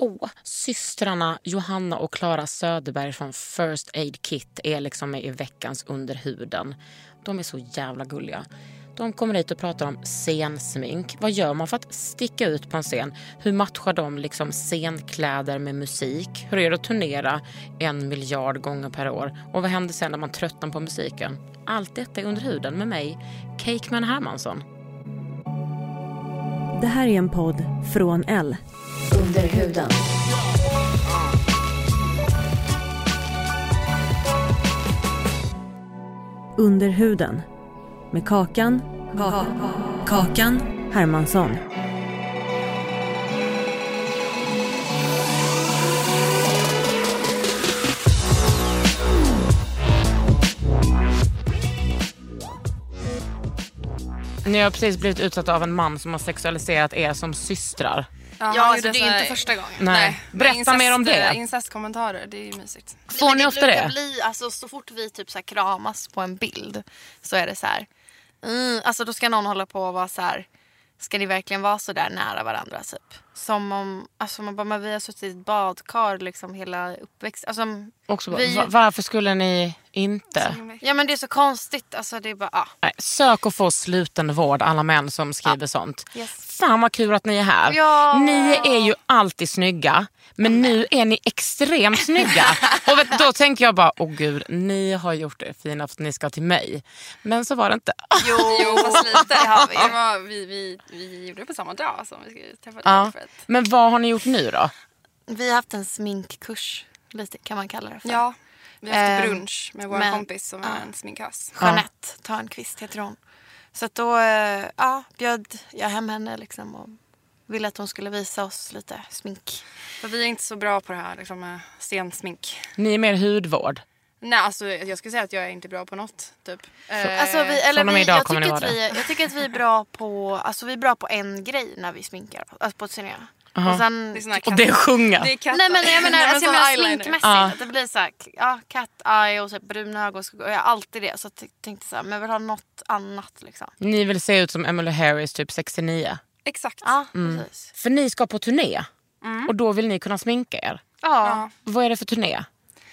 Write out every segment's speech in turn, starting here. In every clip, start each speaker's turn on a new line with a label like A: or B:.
A: Åh, systrarna Johanna och Klara Söderberg från First Aid Kit är liksom med i veckans Under huden. De är så jävla gulliga. De kommer hit och pratar om scensmink. Vad gör man för att sticka ut på en scen? Hur matchar de liksom scenkläder med musik? Hur är det att turnera en miljard gånger per år? Och vad händer sen när man tröttnar på musiken? Allt detta är Under huden med mig, Cakeman Hermansson.
B: Det här är en podd från L.
C: Under huden.
B: Under huden. Med Kakan. Ka- kakan Hermansson.
A: Ni har precis blivit utsatta av en man som har sexualiserat er som systrar.
D: Ja,
E: Ja,
D: han
E: alltså, det
D: gjorde
E: är
D: så här-
E: inte första gången.
A: Nej.
D: Men
A: Berätta mer om det.
D: Incestkommentarer, det är ju mysigt.
A: Får ni ofta det?
E: brukar Bli, alltså, så fort vi typ så här kramas på en bild så är det så här. Mm, alltså, då ska någon hålla på och vara så här. Ska ni verkligen vara så där nära varandra? Typ? Som om alltså, man bara, men vi har suttit i ett badkar liksom hela uppväxten. Alltså,
A: Också,
E: Vi-
A: va- varför skulle ni inte?
E: ja men det är så konstigt. Alltså, det är bara, ah.
A: Nej, sök och få sluten vård alla män som skriver sånt.
E: Yes.
A: Fan vad kul att ni är här.
E: Ja.
A: Ni är ju alltid snygga. Men nu är ni extremt snygga. och vet, då tänker jag bara, åh gud, ni har gjort det fina för att ni ska till mig. Men så var det inte.
E: Jo,
D: Jo, fast lite.
E: det har vi.
D: Det var, vi, vi, vi gjorde det på samma dag alltså. som vi skulle träffa
A: Ja.
D: dig. för att-
A: Men vad har ni gjort nu då?
E: Vi har haft en sminkkurs. Lite kan man kalla det för.
D: Ja, vi har haft
E: Ehm,
D: brunch med vår
E: men-
D: kompis som
E: ja.
D: är en sminkös.
E: Jeanette Törnqvist heter hon. Så att då eh, ja, bjöd jag hem henne liksom och ville att hon skulle visa oss lite smink.
D: För vi är inte så bra på det här liksom, med stensmink.
A: Ni är mer hudvård.
D: Nej, alltså, jag skulle säga att jag är inte bra på något. Typ. Eh,
E: Alltså vi, eller
A: från och med
E: vi,
A: idag
E: jag,
A: kommer
E: tycker
A: ni
E: att
A: vara
E: vi, jag tycker att vi är bra på, alltså, vi är bra på en grej när vi sminkar alltså, på ett scen. Och sen,
D: det är såna här
A: Och det är
D: katter.
A: sjunga.
D: Det är katter.
E: nej men jag menar, alltså, jag
D: som
E: menar
D: eyeliner.
E: sminkmässigt. Att det blir så här, ja, cat eye och så här, bruna ögon. ska gå- Jag har alltid det. Så jag t- tänkte så här, men jag vill ha något annat liksom.
A: Ni vill se ut som Emily Harris typ 69.
D: Exakt.
E: Ja,
A: Mm.
E: precis.
A: För ni ska på turné.
E: Mm.
A: Och då vill ni kunna sminka er.
E: Ja.
D: Ja.
A: Vad är det för turné?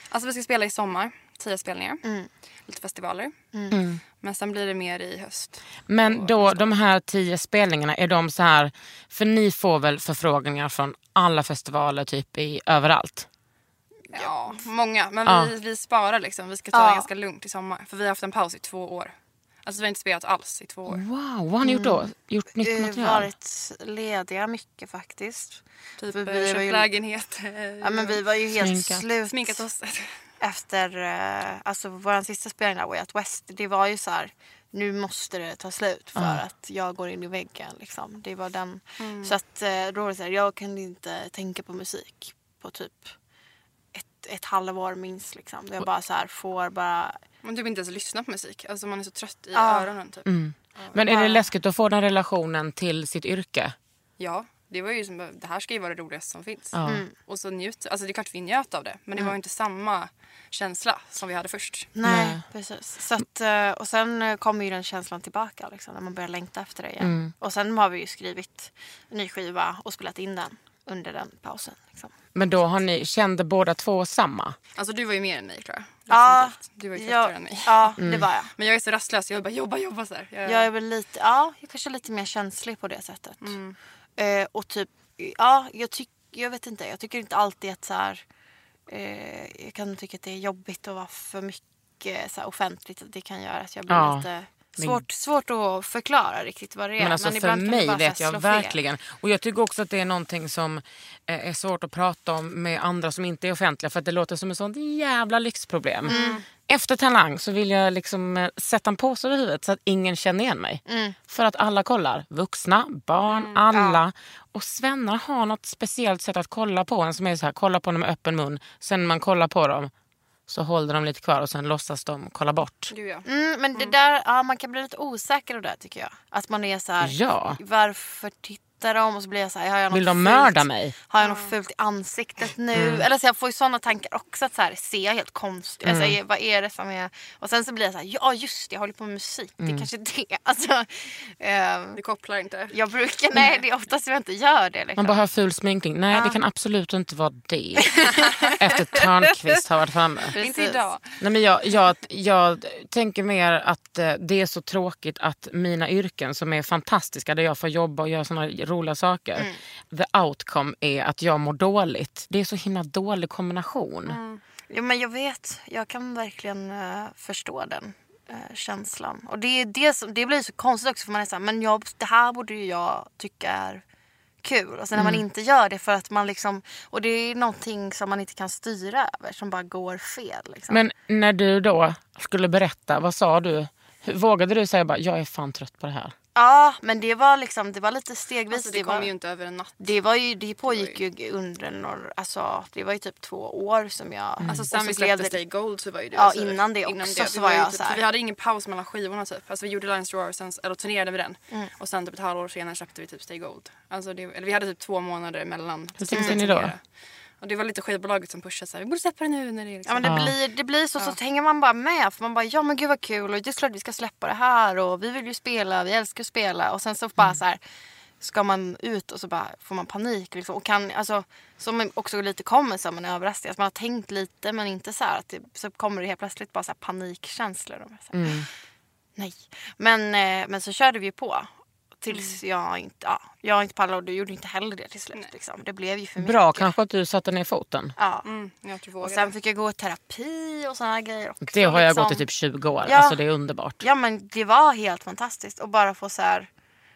D: Alltså vi ska spela i sommar. Tio spelningar. Lite festivaler.
E: Mm.
D: Men sen blir det mer i höst.
A: Men då de här tio spelningarna, är de så här... För ni får väl förfrågningar från alla festivaler typ i, överallt?
D: Ja, många. Men
A: Ja.
D: vi, vi sparar liksom. Vi ska ta
E: Ja.
D: det ganska lugnt i sommar. För vi har haft en paus i två år. Alltså vi har inte spelat alls i två år.
A: Wow, vad har ni gjort då? Mm. Gjort nytt
E: eh,
A: material?
E: varit lediga mycket faktiskt.
D: Typ
E: För
D: eh,
E: vi var
D: köpt
E: ju-
D: lägenhet. eh,
E: Ja, men vi var ju helt
A: Sminkat.
E: slut
D: Sminkat oss.
E: efter eh, alltså, vår sista spelning där, Way Out West. Det var ju så här, nu måste det ta slut för att jag går in i väggen. Liksom. Det var den. Så att, eh, då var det så här, jag kunde inte tänka på musik på typ ett, ett halvår minst. Liksom. Jag bara så här, får bara...
D: Man typ inte ens lyssnar på musik. Alltså man är så trött i
E: Ja.
D: öronen typ.
A: Men är det läskigt att få den relationen till sitt yrke?
D: Ja, det var ju som det här ska ju vara det roligaste som finns.
A: Ja.
E: Mm.
D: Och så njut, alltså det är klart vi njöt av det. Men det var ju inte samma känsla som vi hade först.
E: Nej,
A: Nej.
E: precis. Så att, eh, och sen eh, kommer ju den känslan tillbaka liksom, när man börjar längta efter det igen. Och sen har vi ju skrivit en ny skiva och spelat in den under den pausen. Liksom.
A: Men då har ni, kände båda två samma?
D: Alltså du var ju mer än mig Klara.
E: Ja,
D: Definitivt. Du var ju
E: ja,
D: tröttare än mig.
E: ja
A: Mm.
E: det var jag.
D: Men jag är så rastlös. Jag bara jobba, jobba så här. Jag,
E: Jag är väl lite,
A: Mm.
E: ja, jag kanske är lite mer känslig på det sättet. Eh, och typ, ja, jag tycker tycker, jag vet inte, jag tycker inte alltid att så här, eh, jag kan tycka att det är jobbigt att vara för mycket så här, offentligt. Att det kan göra att jag blir
A: Ja,
E: lite
A: men-
E: svårt, svårt att förklara riktigt vad det är.
A: Men alltså för
E: ibland kan det
A: mig
E: bara så här
A: vet jag
E: slå fel.
A: verkligen. Och jag tycker också att det är någonting som eh, är svårt att prata om med andra som inte är offentliga. För att det låter som ett sånt jävla lyxproblem.
E: Mm.
A: Efter Talang så vill jag liksom eh, sätta en påse över huvudet så att ingen känner igen mig.
E: Mm.
A: För att alla kollar. Vuxna, barn, alla. Och svennar har något speciellt sätt att kolla på en som är så här, kolla på dem med öppen mun. Sen när man kollar på dem så håller de lite kvar och sen låtsas de kolla bort.
D: Du ja.
E: Mm, men det där, ja, man kan bli lite osäker av det tycker jag. Att man är så här,
A: Ja.
E: varför tittar de? Och så blir jag så här, har jag något
A: Vill de
E: fult?
A: mörda mig?
E: Har jag något fult i ansiktet nu?
A: Mm.
E: Eller så jag får ju sådana tankar också. Att så här, ser jag helt konstig
A: Mm.
E: alltså, jag- Vad är det som är... Och sen så blir jag så här, ja just det, jag håller på med musik.
A: Mm.
E: Det är kanske är det. Alltså, ehm,
D: Du kopplar inte.
E: jag brukar, nej det är oftast jag inte gör det. Liksom.
A: Mm. Man bara har ful sminkning. Nej, det kan absolut inte vara det. Efter Törnqvist har varit framme.
E: Precis.
D: Inte idag.
A: Nej, men jag, jag, jag tänker mer att eh, det är så tråkigt att mina yrken som är fantastiska, där jag får jobba och göra såna roliga saker.
E: Mm.
A: The outcome är att jag mår dåligt. Det är så himla dålig kombination.
E: Ja, men jag vet, jag kan verkligen eh, förstå den eh, känslan. Och det, är det, som, det blir så konstigt också för man är såhär, men jag, det här borde ju jag tycka är kul. Och sen när man
D: Mm.
E: inte gör det för att man liksom, och det är någonting som man inte kan styra över som bara går fel. Liksom.
A: Men när du då skulle berätta, vad sa du? Hur- Vågade du säga bara, jag är fan trött på det här?
E: ja, men det var liksom, det var lite stegvis.
D: Alltså, det
E: var,
D: kom ju inte över en natt.
E: det, var ju, det pågick ju under några, alltså det var ju typ två år som jag...
D: Alltså
E: och så
D: sen vi
E: blev
D: släppte
E: det-
D: Stay Gold så var ju du
E: Ja,
D: sur.
E: innan det också
D: vi
E: så var
D: ju
E: jag
D: typ,
E: så här.
D: Vi hade ingen paus mellan skivorna typ. Alltså vi gjorde Lions Roar och sen, eller turnerade med den.
E: Mm.
D: Och sen typ ett halvår senare släppte vi typ Stay Gold. Alltså det, eller vi hade typ två månader emellan.
A: Hur
D: Så vi
A: tänkte
D: skulle
A: ni då?
D: turnera. Och det var lite skivbolaget som pushade så här, vi borde släppa det nu när det är
E: Ja,
D: liksom.
E: men det, blir, det blir så, så hänger man bara med. För man bara, ja men gud vad kul och det är klart vi ska släppa det här och vi vill ju spela, vi älskar att spela. Och sen så bara så här, ska man ut och så bara får man panik. Liksom. Och kan, alltså, som också lite kommer som en överraskning. Att man har tänkt lite men inte så här. Att det, så kommer det helt plötsligt bara så här panikkänslor. Och bara så här, Nej. Men, eh, men så körde vi ju på. Tills jag inte, ja, jag inte pallade och du gjorde inte heller det till slut. Liksom. Det blev ju för mycket.
A: Bra kanske att du satte ner foten.
E: Ja.
D: Mm, jag tror vi
E: Och
D: vågade.
E: sen fick jag gå i terapi och såna grejer också.
A: Det har jag
E: liksom.
A: gått i typ 20 år.
E: Ja.
A: Alltså det är underbart.
E: Ja men det var helt fantastiskt och bara få så här,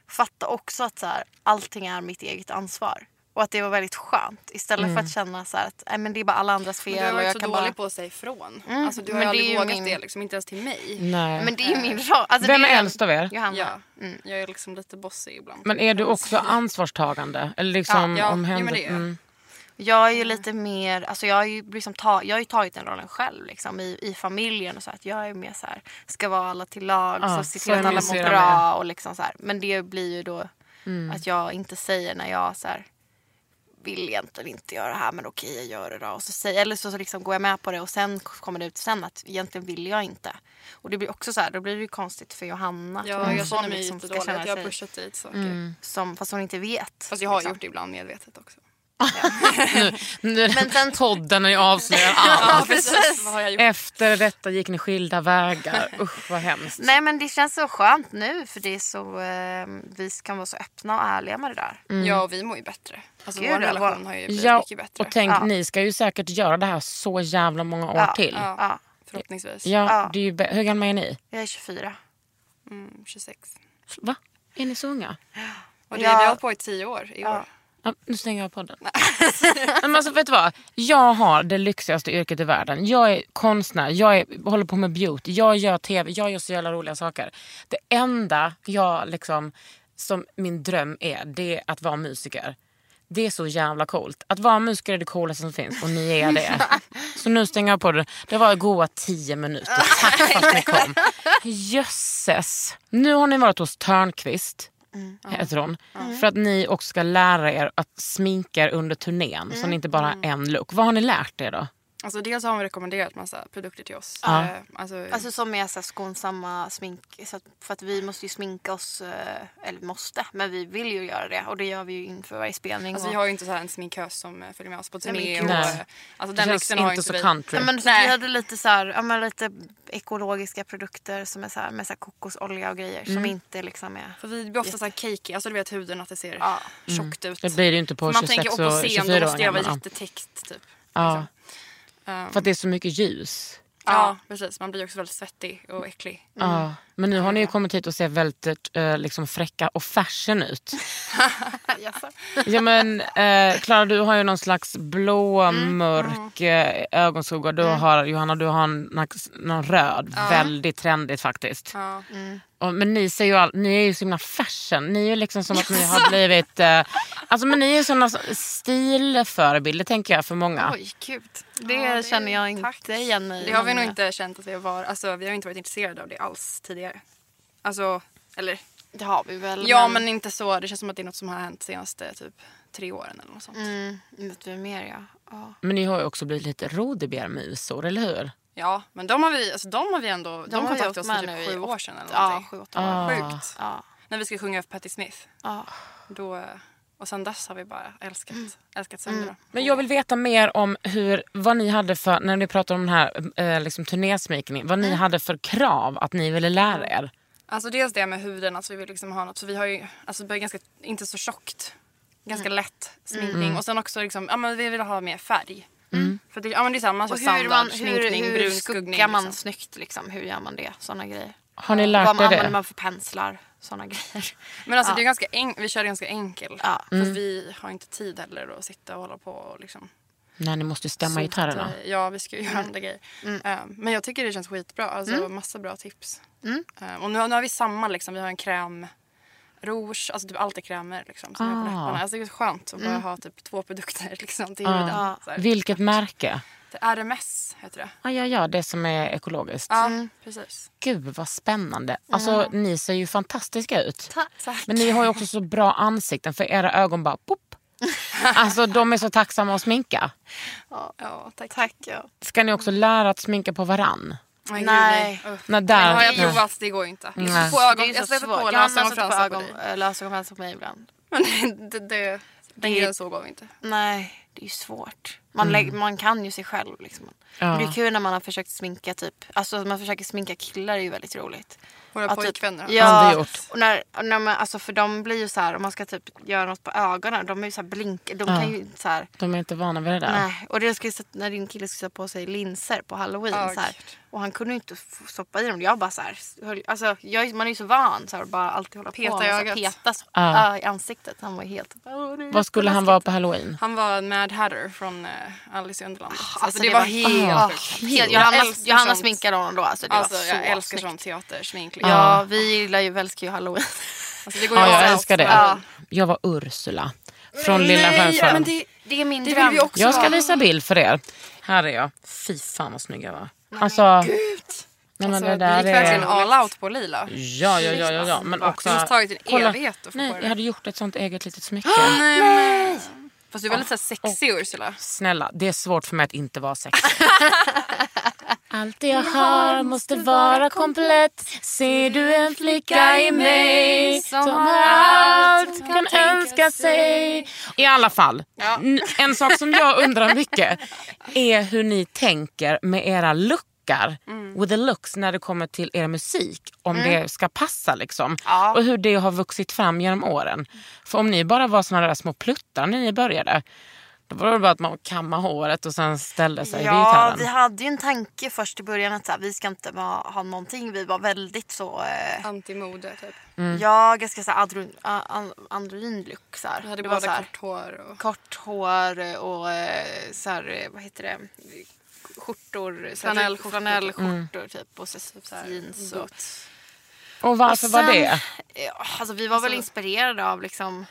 E: fatta också att så här, allting är mitt eget ansvar. Och att det var väldigt skönt istället för
A: Mm.
E: att känna så här, att nej, men det är bara alla andras fel.
D: Men du har
E: och
D: varit
E: jag
D: så
E: kan
D: dålig
E: bara... Mm,
D: på att säga ifrån. Alltså du
E: men
D: har ju
E: det
D: aldrig
E: är ju
D: vågat
E: min-
D: det liksom. Inte ens till mig.
A: Nej.
E: Men det är ju min roll. Alltså,
A: Vem
E: det
A: är
E: ju-
A: äldst av er?
E: Johanna. Mm.
D: Ja, jag är liksom lite bossig ibland.
A: Men är du också ansvarstagande? Eller liksom
D: Ja, ja,
A: omhänder-
D: jo, men det är jag.
A: Mm.
E: Jag är ju lite mer, alltså jag har ju, liksom ta, jag har ju tagit den rollen själv liksom, i, i familjen och så att jag är mer så här, ska vara alla till lag
A: Ja,
E: och se
A: så
E: till
A: är
E: att alla
A: min
E: mår
A: syra
E: bra och liksom så här. Men det blir ju då
D: Mm.
E: att jag inte säger när jag så här, vill egentligen inte göra det här men okej jag gör det då. Och så säger, eller så, så liksom går jag med på det och sen kommer det ut sen att egentligen vill jag inte. Och det blir också så här, då blir det ju konstigt för Johanna. att
D: Ja,
E: hon
D: jag känner
E: som
D: mig
E: liksom ska
D: jättedålig.
E: känna
D: att Jag har
E: sig Mm.
D: pushat dit saker.
E: som, fast hon inte vet.
D: Fast jag har
E: liksom.
D: gjort det ibland medvetet också.
A: Men sen... Podden är ju avslöjad allt.
D: precis. Vad har jag gjort?
A: Efter detta gick ni skilda vägar. Usch vad hemskt.
E: Nej men det känns så skönt nu för det är så, eh, vi kan vara så öppna och ärliga med det där.
D: Ja, och vi mår ju bättre. Alltså
E: Gud,
D: vår
E: ja,
D: relation
E: vår-
D: har ju blivit
A: Mm. Ja,
D: mycket bättre.
A: och tänk
E: Ja.
A: ni ska ju säkert göra det här så jävla många år
E: Ja,
A: till. Ja,
D: ja,
E: Ja,
D: förhoppningsvis.
E: Ja.
A: Det är ju bä- Hur gamla är ni?
E: jag är 24.
D: Mm, 26.
A: Va? Är ni så unga?
D: Och det,
E: Ja.
D: vi har hållit på i tio år i år.
A: Ja, nu stänger jag podden. Nej, men alltså, vet du vad? Jag har det lyxigaste yrket i världen. Jag är konstnär, jag är, håller på med beauty, jag gör tv, jag gör så jävla roliga saker. Det enda jag liksom, som min dröm är, det är att vara musiker. Det är så jävla coolt. Att vara musiker är det coolaste som finns och ni är det. Så nu stänger jag på det. Det var goa tio minuter. Tack för att ni kom. Jösses. Nu har ni varit hos Törnqvist. Heter hon.
D: Mm.
A: För att ni också
D: Mm.
A: ska lära er att sminka er under turnén. Så ni inte bara har en look. Vad har ni lärt er då?
D: Alltså dels har hon rekommenderat massa produkter till oss.
A: Ja.
D: Eh, Alltså,
E: Alltså som är så här skonsamma smink. Så att, för att vi måste ju sminka oss, eh, eller måste, men vi vill ju göra det. Och det gör vi ju inför varje spelning.
D: alltså,
E: och,
D: vi har ju inte så här en sminkös som eh, följer med oss på
E: Nej, men
D: turné.
E: gud.
D: och,
A: Nej.
D: eh, alltså,
A: Det
D: den
A: känns
D: lyxen har
A: inte
D: inte
A: så
D: vi.
A: country.
E: Nej, men
D: Nej.
E: Vi hade lite, så här, ja, men lite ekologiska produkter som är så här, med så här kokosolja och grejer som inte liksom är...
D: För vi blir ofta så här cakey, alltså du vet huden att det ser
E: Ja.
D: tjockt ut.
A: Mm. Det blir det ju inte på
D: För man tänker
A: 26
D: och
A: och
D: på scen då måste
A: 24-åringar.
D: jag
A: men,
D: vara
A: Ja.
D: jättetäckt typ.
A: Ja.
D: liksom. Ehm,
A: För att det är så mycket ljus.
D: ja precis, man blir också väldigt svettig och äcklig.
A: Ja. Men nu har ni ju kommit hit och ser väldigt eh, liksom fräcka och fashion ut. Ja men eh, Clara du har ju någon slags blå mörk eh, ögonskugga. Du har Johanna du har en, nax- någon röd. Väldigt trendigt faktiskt.
D: Ja.
A: Och, men ni, ser ju all, ni är ju så himla fashion. Ni är ju liksom som att ni har blivit... Eh, alltså men ni är ju sådana stilförebilder tänker jag för många.
E: Oj, gud. Det
D: Ja, det-
E: känner jag inte
D: tack.
E: igen mig i,
D: Det har vi
E: men-
D: nog inte känt att vi var, alltså vi har inte varit intresserade av det alls tidigare. Alltså, eller
E: Det har vi väl.
D: ja men inte så, det känns som att det är något som har hänt senaste typ tre åren eller något sånt.
E: Mm, vet vi mer ja. ja.
A: Men ni har ju också blivit lite rodebjermusor eller hur?
D: Ja men de har vi, alltså de har vi ändå, de,
E: har vi åkt
D: kontaktade oss
E: med
D: för
E: nu i
D: typ sju
E: åt-
D: år sedan eller
E: Ja,
D: någonting.
E: sju, åtta år.
A: Ah.
D: Sjukt.
E: Ja. Ah.
D: När vi skulle sjunga för Patti Smith.
E: Ja.
D: Då, och sen dess har vi bara älskat,
E: Mm.
D: älskat sönder dem.
A: Men jag vill veta mer om hur, vad ni hade för, när ni pratar om den här eh, liksom turnésmikningen, vad ni hade för krav att ni ville lära er.
D: Alltså dels det med huden, alltså vi vill liksom ha något. Så vi har ju, alltså det är ganska, inte så tjockt. Ganska
E: Mm.
D: lätt sminkning. Och sen också liksom, ja men vi vill ha mer färg. För det, ja men det är samma
E: Mm. Och
D: sak.
E: hur,
D: Standard,
E: man, hur,
D: sminkning,
E: hur
D: brun
E: skuggar
D: skuggning.
E: man
D: Liksom.
E: snyggt liksom? Hur gör man det? Såna grejer.
A: Har ni
E: Vad
A: lärt er
E: använder
A: det?
E: man för penslar? Såna grejer.
D: Men alltså det är ganska en, vi kör ganska enkel.
E: Ja. Mm.
D: För vi har inte tid heller att sitta och hålla på och liksom.
A: Nej, ni måste ju stämma
D: sota
A: gitarrerna.
D: i- Ja vi ska ju göra
E: Mm.
D: andra grejer. Eh, men jag tycker det känns skitbra. Alltså massa bra tips.
E: Mm.
D: Eh, och nu, nu har vi samma liksom, vi har en kräm. Rouge, alltså typ allt är krämer liksom, som är på
A: Ah.
D: läpparna. Alltså det är skönt att bara
E: Mm.
D: ha typ två produkter liksom, till
E: Ah.
A: Ja.
D: huden. Så här.
A: Vilket märke?
D: Det är RMS heter det.
A: Ja, ja, ja, det som är ekologiskt.
D: Ja, precis.
A: Gud vad spännande. Alltså ni ser ju fantastiska ut.
D: Tack.
A: Men ni har ju också så bra ansikten för era ögon bara pop. Alltså de är så tacksamma att sminka.
D: Ja, tack.
E: Tack. Ja.
A: Ska ni också lära att sminka på varann?
D: Nej. Gud,
E: Nej.
D: nej. Uff.
A: Nej,
D: Det
A: där.
D: har jag
A: nej.
D: provat, det går ju inte. Jag
A: Nej.
D: sätter på
E: Det
D: ögon,
E: är ju
D: jag
E: så
D: sätter på
E: svårt. Jag har
D: lösögon och
E: satt på
D: fransar på
E: ögon,
D: dig.
E: eh, lösögonfransar på mig ibland.
D: Men det, det, det, den grejen så går vi inte.
E: Nej, det är ju svårt. Man, lägger, man kan ju sig själv. Liksom.
A: Mm. Ja.
E: Men det är kul när man har försökt sminka typ. Alltså man försöker sminka killar är ju väldigt roligt.
D: Våra
E: Att typ-
D: pojkvänner har-
E: Ja,
A: Aldrig gjort.
E: och när, och när man, alltså för de blir ju så här, om man ska typ göra något på ögonen, de är ju så här blink, de kan ju inte så här.
A: De är inte vana vid det där.
E: Nej, och det skulle, sätta- när din kille skulle sätta på sig linser på halloween
D: Ja,
E: så här,
D: gud.
E: och han kunde ju inte f- stoppa i dem. Jag bara så här, höll- alltså, jag, man är ju så van så här, att bara alltid hålla
D: Peta
E: på
D: i
E: med så här
D: ögat.
E: peta så,
A: Ja.
E: ja, i ansiktet. Han var helt...
A: Vad skulle han vara på halloween?
D: Han var en Mad Hatter från eh, Alice i Underlandet. Alltså,
E: Alltså,
D: det, var helt
E: ah,
D: sjukt.
E: helt
D: Jag
E: Johanna,
D: älskar
E: Johanna
D: sånt.
E: sminkade honom då. Alltså, det
D: Alltså,
E: var så
D: jag älskar
E: snyggt.
D: sån teatersmink. Liksom.
E: Ja, vi gillar ju, vi älskar ju halloween.
D: Alltså, det går ju
A: Ja,
D: överallt.
A: jag älskar det.
D: Ja.
A: Jag var Ursula från Lilla
D: ja, men
A: Sjöfararen.
D: det,
E: Det är min
D: det vill vi också
A: Jag ska
D: ha.
A: visa bild för er. Här är jag. Fy fan vad snygg jag var. Alltså, nej, men
D: Alltså,
A: det
D: vi
A: där
D: gick verkligen
A: är...
D: all out på Lila.
A: Ja, ja, ja, ja, ja. Men
D: Alltså,
A: också...
D: det måste tagit en
A: Kolla.
D: evighet att få
A: Nej,
D: på det.
A: jag hade gjort ett sånt eget litet smycke.
D: Nej, men- Fast du är väldigt så här, sexig Ursula.
A: Snälla, det är svårt för mig att inte vara sexig. Allt det jag har måste vara komplett Ser du en flicka i mig som har allt kan önska sig I alla fall, n- en sak som jag undrar mycket är hur ni tänker med era lookar with the looks när det kommer till er musik, om det ska passa liksom. Och hur det har vuxit fram genom åren. För om ni bara var såna där små pluttar när ni började, då var det bara att man kammade håret och sen ställde sig vid
E: Ja,
A: gitarren.
E: vi hade ju en tanke först i början att så här, vi ska inte vara- ha någonting. Vi var väldigt så... Eh,
D: Antimode typ.
E: Ja, ganska så här androgyn, a- an, androgyn look. Så här.
D: Jag hade
E: Det var så
D: båda
E: här,
D: kort hår. Och...
E: kort hår och eh, så här, eh, vad heter det? Skjortor, så här,
D: Flanellskjortor. Mm.
E: flanellskjortor typ och så, så här, jeans. Och,
A: Och varför
E: Och
A: var
E: sen-
A: det?
E: ja, alltså, vi var väl inspirerade av liksom...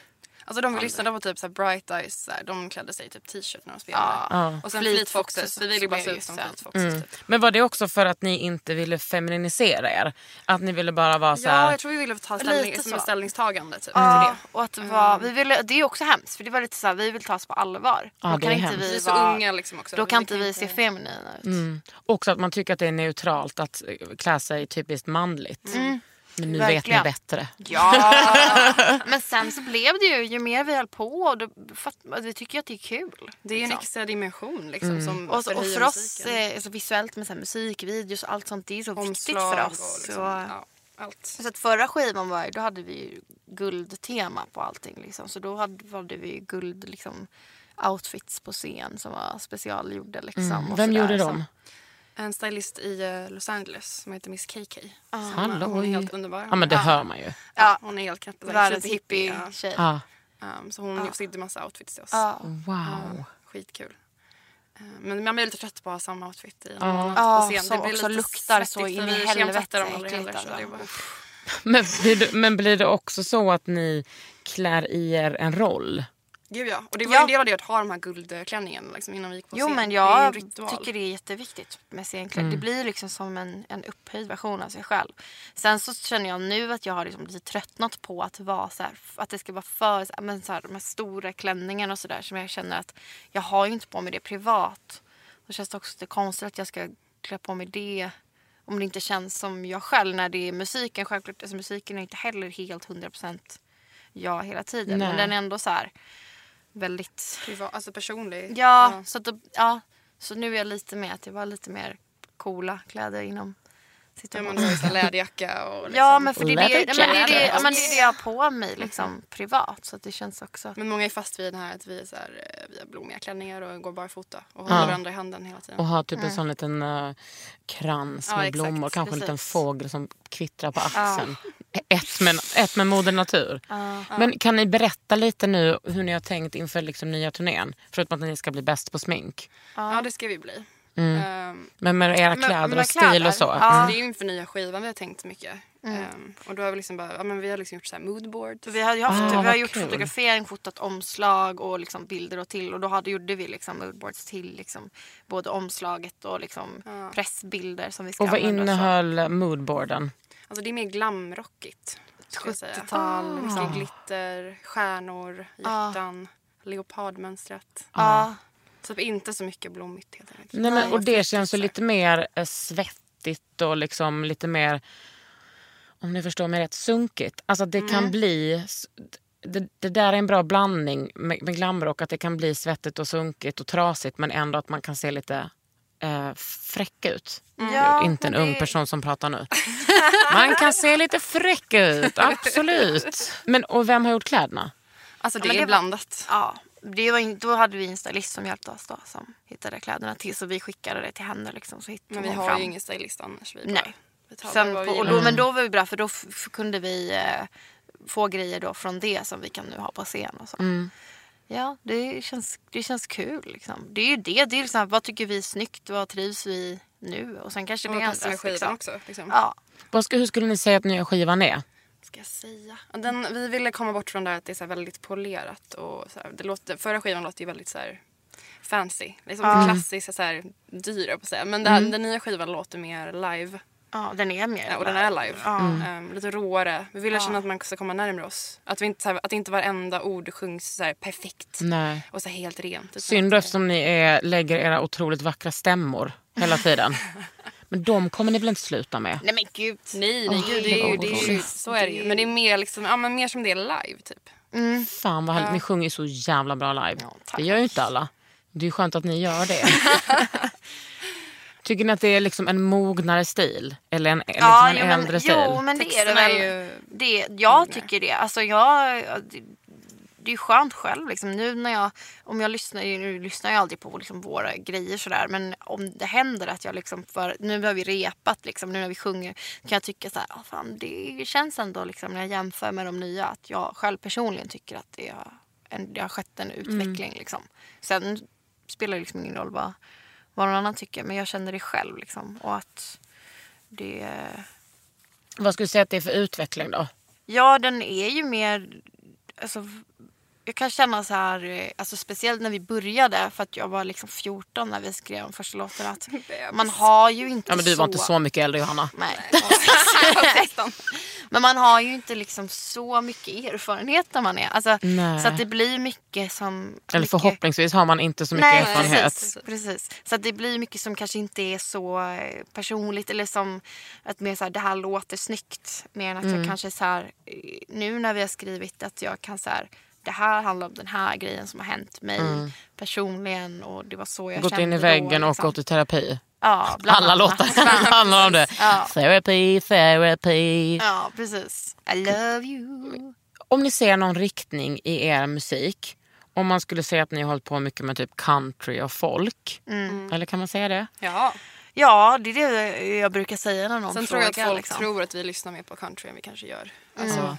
D: Alltså de vi lyssnade på typ så här Bright Eyes, så här, de klädde sig i typ t-shirt när de spelade.
E: Ja.
A: Ja.
D: Och sen
E: Fleet
D: Fleet Foxes,
E: Foxes
D: vi ville bara se
E: blev
D: ut som
E: ju
D: Fleet
E: sen.
D: Foxes.
A: Mm.
D: Typ.
A: Men var det också för att ni inte ville feminisera er? Att ni ville bara vara så
D: Ja,
A: här...
D: jag tror vi ville ta ställning,
E: Lite
D: som ett
E: så.
D: ställningstagande typ.
E: Ja,
D: till det.
E: och att det var, vi ville, det är också hemskt för det var lite så här, vi vill tas på allvar.
A: Ja,
E: då
A: det
E: kan
A: är
E: inte
A: hemskt.
D: Vi
E: vi
D: är så
E: vara,
D: unga liksom också.
E: då kan inte
D: kan
E: vi se feminina ut.
A: Mm. Också att man tycker att det är neutralt att eh, klä sig typiskt manligt. Men nu
E: Mm. Verkligen.
A: vet ni bättre.
E: Ja, men sen så blev det ju, ju mer vi höll på, då, fatt, vi tycker ju att det är kul.
D: Det är en
E: liksom.
D: extra dimension liksom som
E: Och, så- och
D: förhöjer
E: för oss
D: musiken.
E: eh, så visuellt med så här, musikvideos och allt sånt, det är så viktigt
D: Omslag
E: för
D: och
E: oss.
D: liksom,
E: och,
D: ja, allt.
E: Så att förra skivan var ju, då hade vi ju guldtema på allting liksom. Så då hade, hade vi ju guld liksom outfits på scen som var specialgjorda liksom.
A: Mm.
E: och
A: Vem
E: sådär,
A: gjorde
E: så-
A: de?
D: En stylist i eh, Los Angeles som heter Miss KK.
E: Ah.
D: Som,
A: Halloj.
D: eh, Hon är helt underbar.
A: Ja men det hör man ju.
D: Ja, hon är helt knäpp.
E: Världens
D: superhippie,
E: hippie-tjej.
A: Ja.
D: ja. Um, så hon sydde massa outfits till oss.
E: Ja.
A: Wow.
D: Skitkul. Eh, Men man blir lite trött på att ha samma outfit i en
A: Ja.
D: månad
E: Ja,
D: på scen.
E: som
D: blir
E: också
D: lite
E: luktar så
D: svettigt,
E: in
D: för
E: i
D: vi
E: helvete
D: kemtvättar dem aldrig heller,
E: äckligt,
D: så det är
E: alltså.
D: bara-
A: Men, blir det, men blir det också så att ni klär i er en roll?
D: Gud ja. Och det var
E: Ja.
D: ju en del av det att ha de här guldklänningarna liksom, innan vi gick på
E: Jo
D: scen.
E: men
D: det är en
E: jag
D: ritual.
E: tycker det är jätteviktigt med scenkläder. Det blir ju liksom som en, en upphöjd version av sig själv. Sen så känner jag nu att jag har liksom lite tröttnat på att vara så här, att det ska vara för så här, men så här, de här stora klänningarna och sådär som jag känner att jag har ju inte på mig det privat. Då känns det också lite konstigt att jag ska klä på mig det om det inte känns som jag själv när det är musiken. Självklart, alltså musiken är inte heller helt 100% jag hela tiden.
A: Nej.
E: Men den är ändå så här väldigt
D: Privat, alltså personlig.
E: Ja, Så, att då, ja så nu är jag lite mer att det var lite mer coola kläder inom
D: Ja,
E: situationen.
D: man har ju så här läderjacka och liksom.
E: Ja, men för det är det,
A: Leather
E: nej, men det, är det,
A: jacket.
E: ja, men det, är det jag har på mig liksom, privat. Så att det känns också...
D: Men många är fast vid den här att vi, är så här, eh, vi har blommiga klänningar och går barfota och håller
A: Ja.
D: varandra i handen hela tiden.
A: Och ha typ en sån liten eh, krans
D: Ja,
A: med
D: exakt.
A: blommor. Kanske en liten
E: Precis.
A: fågel som kvittrar på axeln. Ett, med, ett med moder natur.
E: Ja.
A: Men kan ni berätta lite nu hur ni har tänkt inför liksom nya turnén? Förutom att ni ska bli bäst på smink.
D: Ja, det ska vi bli.
E: Mm.
D: Ehm,
A: Men med era
D: men-
A: kläder
D: men
A: och stil och så. Mm.
D: Ja. Det är ju inför nya skivan vi har tänkt mycket. Ehm, och då har vi liksom bara, ja, men vi har liksom gjort så här moodboards.
E: Mm. Vi har, ju haft,
A: Ah,
E: vi har
A: vad
E: gjort
A: kul.
E: fotografering, fotat omslag och liksom bilder och till. Och då hade, gjorde vi liksom moodboards till liksom både omslaget och liksom pressbilder som vi ska
A: Och vad
E: använda. så.
A: innehöll moodboarden?
D: Alltså det är mer glamrockigt. skulle jag säga. Ah.
E: 70-tal,
D: Mycket glitter, stjärnor,
E: Ah.
D: hjärtan, leopardmönstrat.
E: Ja,
D: Typ inte så mycket blommigt helt enkelt.
A: Nej, men, och det känns ju
D: så här.
A: lite mer eh, svettigt och liksom lite mer, om ni förstår mig rätt, sunkigt. Alltså att det
E: Mm.
A: kan bli, s- det, det där är en bra blandning med, med glamrock, att det kan bli svettigt och sunkigt och trasigt men ändå att man kan se lite eh, fräck ut.
E: Mm. Ja,
A: Mm. Inte en
E: men
A: ung
E: det-
A: person som pratar nu. Man kan se lite fräck ut, absolut. Men, och vem har gjort kläderna?
D: Alltså det
E: men
D: är
E: det var-
D: blandat.
E: Ja, det var, in- då hade vi en stylist som hjälpte oss då, som hittade kläderna till. Så vi skickade det till henne. Liksom, så hittade
D: Men vi
E: hon
D: har
E: fram.
D: ju ingen stylist annars. Vi
E: Nej.
D: vi tar
E: Sen
D: vad
E: på,
D: vi
E: och
D: gillar.
A: Mm.
E: då, men då var vi bra, för då f- f- kunde vi eh, få grejer då från det som vi kan nu ha på scen. Och så.
A: Mm.
E: Ja, det känns, det känns kul. Liksom. Det är ju det. det är liksom, vad tycker vi är snyggt? Vad trivs vi nu? Och sen kanske
D: Och
E: det
D: vad passar med
E: ändras.
D: skivan
E: Liksom.
D: också. Liksom.
E: Ja.
A: Vad ska, hur skulle ni säga att nya skivan är?
D: Ska jag säga? Ja, Den, vi ville komma bort från det här att det är så här väldigt polerat. Och så här, det låter, förra skivan låter ju väldigt så här fancy. Liksom Klassiskt, så här, dyr på att säga. Men det
E: Mm.
D: här, den nya skivan låter mer live.
E: ja, den är mer
D: Ja, och den är live.
A: Mm.
E: Mm.
D: Ehm, lite råare. Vi ville känna att man ska komma närmare oss. Att, vi inte, så här, att inte varenda ord sjungs så här, perfekt
A: Nej.
D: och så här, helt rent. utan
A: Synd
D: att
A: då,
D: det-
A: eftersom ni är, lägger era otroligt vackra stämmor hela tiden. Men de kommer ni väl inte sluta med?
E: Nej men gud.
D: Nej, nej gud, det är ju, det är ju,
A: Otroligt.
D: så är det ju. Men det är mer, liksom, ja, men mer som det är live typ.
A: Fan vad härligt, ni sjunger ju så jävla bra live.
E: tack.
A: det gör ju inte alla. Det är ju skönt att ni gör det. Tycker ni att det är liksom en mognare stil? Eller en, liksom en
E: jo,
A: äldre
E: men,
A: stil?
E: Jo, men det är det
D: Texterna
E: väl.
D: är ju-
E: Det, jag tycker det. Alltså, jag, det, det är ju skönt själv. Liksom. Nu när jag, om jag lyssnar, nu lyssnar jag aldrig på liksom, våra grejer sådär. Men om det händer att jag liksom, för, nu har vi repat, liksom, nu när vi sjunger kan jag tycka så här, "Ah, fan, det känns ändå liksom, när jag jämför med de nya att jag själv personligen tycker att det har, en, det har skett en utveckling. Liksom. Sen spelar det liksom ingen roll vad, vad någon annan tycker men jag känner det själv. Liksom, och att det...
A: Vad skulle du säga att det är för utveckling då?
E: Ja, den är ju mer... Alltså, jag kan känna så här, eh, alltså speciellt när vi började för att jag var liksom 14 när vi skrev de första låten att man har ju inte
A: Ja, men du var inte så mycket äldre Johanna.
E: Nej.
D: Nästan.
E: Men man har ju inte liksom så mycket erfarenhet när man är. Alltså,
A: Nej.
E: så att det blir mycket som...
A: Eller
E: mycket-
A: förhoppningsvis har man inte så mycket
E: Nej,
A: erfarenhet.
E: Precis, precis. Så att det blir mycket som kanske inte är så eh, personligt eller som att mer så här, det här låter snyggt. Mer än att
A: Mm.
E: jag kanske så här, eh, nu när vi har skrivit att jag kan så här, det här handlar om den här grejen som har hänt mig personligen och det var så jag
A: Mm. Gått
E: kände
A: in i
E: då,
A: väggen och
E: liksom.
A: gått i terapi.
E: Ja, bland
A: Alla
E: annat.
A: låtar
E: Exakt.
A: handlar om det.
E: Ja.
A: Therapy, therapy.
E: Ja, precis. I love you.
A: Om ni ser någon riktning i er musik, om man skulle säga att ni har hållit på mycket med typ country och folk.
E: Mm.
A: Eller kan man säga det?
D: Ja.
E: Ja, det är det jag brukar säga när någon
D: Sen tror
E: frågar.
D: jag att folk
E: liksom.
D: tror att vi lyssnar mer på country än vi kanske gör. Alltså,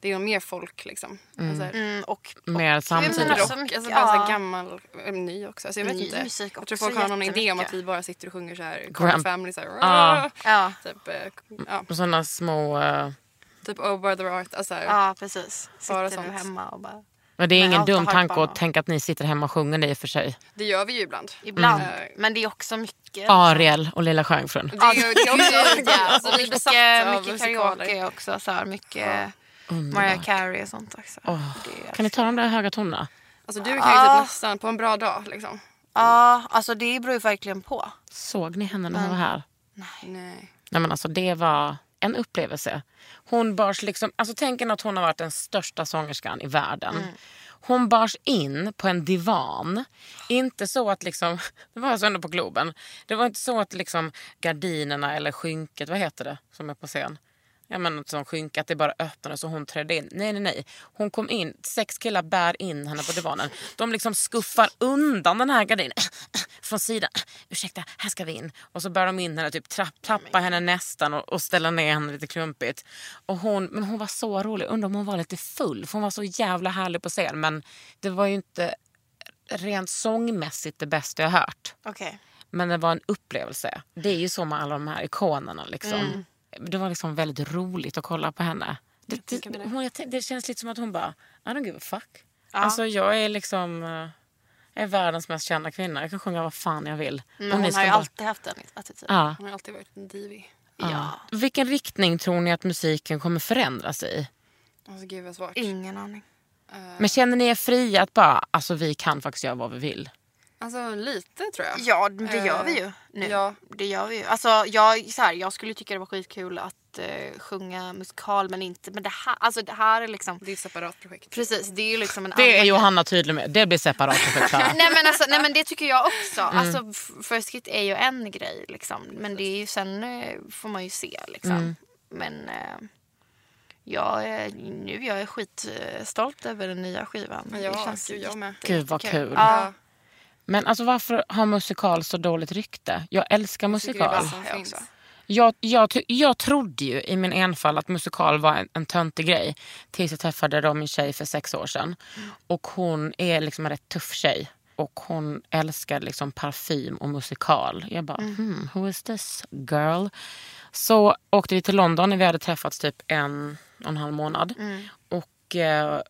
D: Det är ju mer folk liksom. Alltså,
E: Mm, och
A: Mer
E: men
A: samtidigt.
D: Rock,
E: alltså-
D: alltså,
E: mycket,
D: bara så
E: ja.
D: här gammal, eh, ny också. Alltså, jag vet
E: Ny
D: inte.
E: musik
D: jag
E: också
D: tror folk har någon idé om
E: jättemycket.
D: att vi bara sitter och sjunger så här,
A: Grand-
D: Grand Family så här,
A: Ja.
E: Ja.
D: typ, eh, ja,
A: Sådana små... eh,
D: typ Oh brother art. Alltså, så här.
E: Ja, precis. Sitter
D: Bara
E: du
D: sånt.
E: hemma och bara...
A: Men det är
E: Men
A: ingen
E: allt har
A: dum
E: hype
A: tanke
E: bara.
A: att tänka att ni sitter hemma och sjunger det i och för sig.
D: Det gör vi ju ibland.
E: Ibland.
A: Mm.
D: Eh,
E: Men det är också mycket.
A: Ariel och Lilla Stjärnfrun.
D: Det är ju det är också...
E: Ja,
D: alltså, vi är
E: mycket,
D: besatta av
E: mycket
D: musikaler.
E: karaoke också. Så här, mycket Mariah Carey och sånt också. Det är-
A: Kan ni ta de där höga tonerna?
D: Alltså, du kan ju typ nästan på en bra dag liksom.
E: Ja, alltså det beror ju verkligen på.
A: Såg ni henne när hon var här?
D: Nej.
A: Nej, men alltså, det var en upplevelse. Hon bars liksom, alltså, tänk er att hon har varit den största sångerskan i världen. Hon bars in på en divan. Inte så att liksom, det var alltså ändå på Globen. Det var inte så att liksom gardinerna eller skynket, vad heter det som är på scen? Ja men något som skynke, att det bara öppnades och hon trädde in. Nej nej nej. Hon kom in, sex killar bär in henne på divanen. De liksom skuffar undan den här gardinen. Från sidan. Ursäkta, här ska vi in. Och så bär de in henne, typ trapp, tappa henne nästan och, och ställa ner henne lite klumpigt. Och hon, men hon var så rolig. Undrar om hon var lite full. För hon var så jävla härlig på scen. Men det var ju inte rent sångmässigt det bästa jag hört.
E: Okej.
A: Men det var en upplevelse. Det är ju så med alla de här ikonerna. Liksom. Det var liksom väldigt roligt att kolla på henne. Det, det, hon, jag, tänk- det känns lite som att hon bara, I don't give a fuck. Alltså jag är liksom eh, jag är världens mest kända kvinna. Jag kan sjunga vad fan jag vill.
E: Men
A: Och ni
E: hon
A: ska
E: har ju
A: bara-
E: alltid haft den attityden.
A: Ja,
D: Hon har alltid varit en divi.
A: ja. Vilken riktning tror ni att musiken kommer förändras i?
D: Alltså gud vad svårt.
E: Ingen aning.
A: Men känner ni er fria att bara, alltså vi kan faktiskt göra vad vi vill?
D: Alltså lite tror jag.
E: Ja, det gör
D: Eh,
E: vi ju nu.
D: ja.
E: Det gör vi ju. Alltså, jag, så här, jag skulle tycka det var skitkul att eh, sjunga musikal men inte... Men det här, alltså, det här är liksom...
D: Det är ett separat projekt.
E: Precis, det är ju liksom en
A: Det är
E: annan-
A: Johanna tydlig med. Det blir separat projekt Klara.
E: Nej men, alltså, nej men det tycker jag också.
A: Mm.
E: Alltså, f- first kit är ju en grej liksom. Men det är ju, sen eh, får man ju se liksom.
A: Mm.
E: Men eh, jag, är- nu jag är skitstolt över den nya skivan.
D: Ja,
E: det känns
D: gud, jag med.
A: Gud vad kul.
E: Ja,
A: Men alltså varför har musikal så dåligt rykte? Jag älskar
D: Tycker det är
A: musikal.
D: bäst som
E: Jag
D: finns.
E: också.
A: Jag, jag, ty- jag trodde ju i min enfald att musikal var en, en töntig grej. Tills jag träffade då min tjej för sex år sedan. Och hon är liksom en rätt tuff tjej. Och hon älskar liksom parfym och musikal. Jag bara, hmm, who is this girl? Så åkte vi till London när vi hade träffats typ en och en halv månad. Och eh,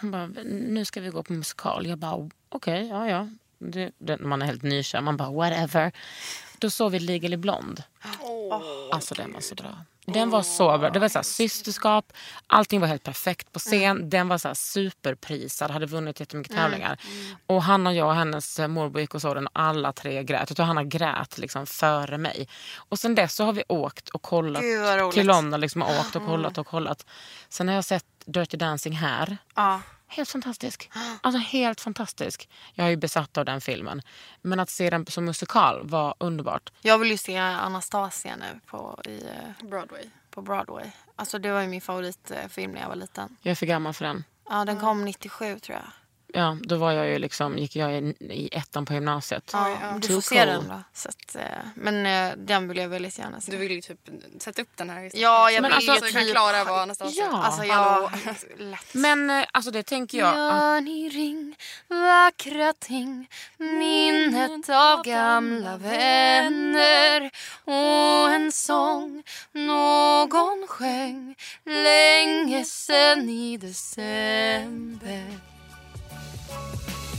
A: hon bara, nu ska vi gå på musikal. Jag bara, okej, ja ja. Det, det, man är helt nykär, man bara whatever. Då såg vi Legally Blonde. Alltså den var så bra. Den var så bra. Det var så här, systerskap, allting var helt perfekt på scen.
E: Mm.
A: Den var så här, superprisad, hade vunnit jättemycket tävlingar.
E: Mm.
A: Och Hanna, jag och hennes eh, morbror gick och såg den och alla tre grät. Jag tror Hanna grät liksom före mig. Och sen dess så har vi åkt och kollat
E: Gud, vad roligt. Mm.
A: till London. Liksom, och åkt och kollat och kollat. Sen har jag sett Dirty Dancing här.
E: ja.
A: Helt fantastisk. Alltså helt fantastisk. Jag är ju besatt av den filmen. Men att se den som musikal var underbart.
E: Jag vill ju se Anastasia nu på, i, eh,
D: Broadway.
E: på Broadway. Alltså, det var ju min favoritfilm när jag var liten.
A: Jag är för gammal för den.
E: Ja,
D: Mm.
E: den kom 97 tror jag.
A: Ja, då var jag ju liksom, gick jag i, i ettan på gymnasiet.
E: Ja, men du
A: Too
E: får se
A: cool.
E: den då. Så att, eh, men eh, den vill jag väldigt gärna se.
D: Du vill ju typ sätta upp den här historien.
E: Ja, jag
A: Men
E: vill
A: alltså,
E: ju
D: Så kan
E: typ...
D: Klara vara Anastasia.
A: Ja.
E: Alltså
D: Hallå.
E: jag... Lätt.
A: Men eh, alltså det tänker jag. att-
E: Gör ni ring, vackra ting Minnet av gamla vänner Och en sång någon sjöng Länge sen i december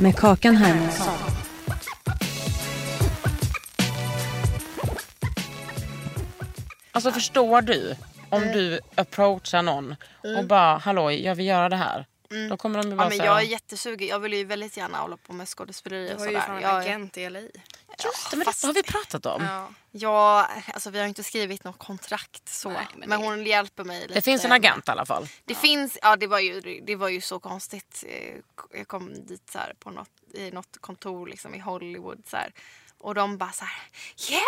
B: Med Kakan Hermansson.
A: Alltså förstår du om
E: Mm.
A: du approachar någon och bara halloj jag vill göra det här. Då kommer de ju bara
E: Mm. Ja, men
A: säga,
E: jag är jättesugen. Jag vill ju väldigt gärna hålla på med skådespeleri
D: Du
E: och
D: har ju
E: sådär.
D: fan en
E: Jag-
D: agent i LA.
A: just det, men det har vi pratat om.
D: Ja.
E: Ja, alltså vi har inte skrivit något kontrakt så.
D: Nej, men
E: men
D: det-
E: hon hjälper mig lite.
A: Det finns en agent i alla fall.
E: Det finns, ja det var ju, det var ju så konstigt. Eh, Jag kom dit så här på något, i något kontor liksom i Hollywood så här. Och de bara så här, yeah,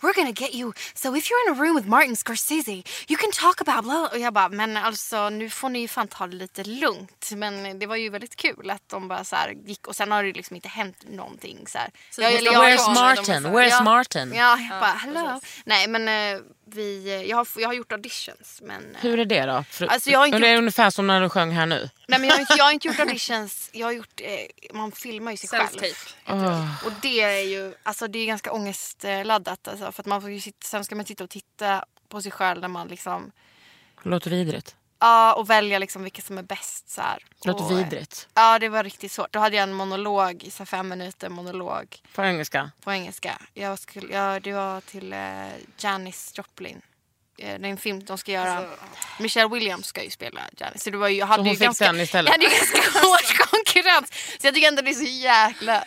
E: we're gonna get you. So if you're in a room with Martin Scorsese, you can talk about blah. Och jag bara, men alltså nu får ni ju fan ta det lite lugnt. Men det var ju väldigt kul att de bara så här gick och sen har det liksom inte hänt någonting så här.
D: Så
E: Jag-
D: det
E: eller
D: måste vara
E: jag-
A: Where's Martin? Where's
E: Ja.
A: Martin?
E: Ja, jag bara hello. Nej men eh, vi, jag, har, jag har gjort auditions men... eh,
A: Hur är det då? För,
E: Alltså, jag har inte
A: är det ungefär som när du sjöng här nu?
E: Nej, men jag, har inte, jag har inte gjort auditions, jag har gjort, eh, man filmar ju sig själv.
D: Self-tape.
E: Och det är ju alltså, det är ganska ångestladdat. Alltså, för att man får ju sitta, sen ska man sitta och titta på sig själv när man liksom,
A: Låter vidrigt.
E: ja och välja liksom vilka som är bäst. Så här.
A: Låter
E: och, eh,
A: vidrigt.
E: Ja, det var riktigt svårt. Då hade jag en monolog, så här, fem minuter monolog
A: På engelska.
E: på engelska. Jag skulle, jag, det var till eh, Janis Joplin. Eh, Det är en film de ska göra. Michelle Williams ska ju spela Janis. Så det var ju, jag hade
A: hon
E: ju
A: fick
E: ganska,
A: den istället?
E: Jag hade ju ganska hård konkurrens. Så jag tycker ändå det är så jäkla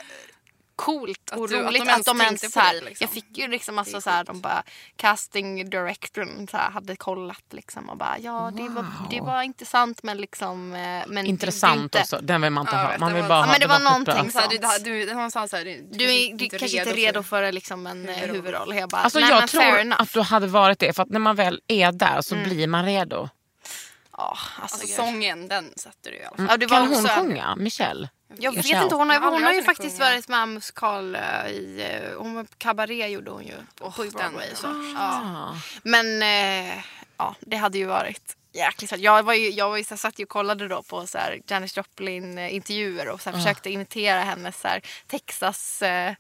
E: coolt och
D: Att du- att de
E: roligt
D: ens
E: att de
D: tänkte
E: ens så
D: på
E: här,
D: dig, liksom.
E: Jag fick ju liksom alltså så här, de bara casting directorn så här, hade kollat liksom och bara ja det var, det var intressant men liksom eh, men det- det är
A: Intressant
E: inte,
A: också. Den vill man inte
D: Ja,
A: ha.
D: det
A: Man vill
D: var-
A: bara
D: ja,
A: ha
E: men det var
A: skitbra.
E: någonting
D: Så här, du,
E: sant.
D: du, du, hon sa så här, du,
E: Alltså, Du är du kanske inte redo för liksom en eh,
D: Huvudroll.
E: huvudroll. Jag bara,
A: Alltså
E: nej, men
A: jag tror
E: fair enough. Mm.
A: att du hade varit det. För att när man väl är där så blir man redo.
E: Ja, alltså,
D: Alltså, Mm,
E: gud.
D: sången, den satte du i alla fall.
E: ja, det var
A: Kan hon
E: också,
A: sjunga? Michelle?
E: Jag vet
A: Michelle?
E: inte, hon har,
D: Jag har
E: hon har ju
D: aldrig hört henne
E: faktiskt
D: sjunga.
E: varit med i musikal eh, i... eh, Hon var Cabaret gjorde hon ju på
D: Åh, den Ah.
E: Broadway.
D: var
E: Så. Ja. Men eh, ja, det hade ju varit jäkligt svårt. Jag, var ju, jag var ju, så här, satt ju och kollade då på så här, Janis Joplin eh, intervjuer och så
D: Ah.
E: här, försökte imitera hennes så här, Texas... Eh,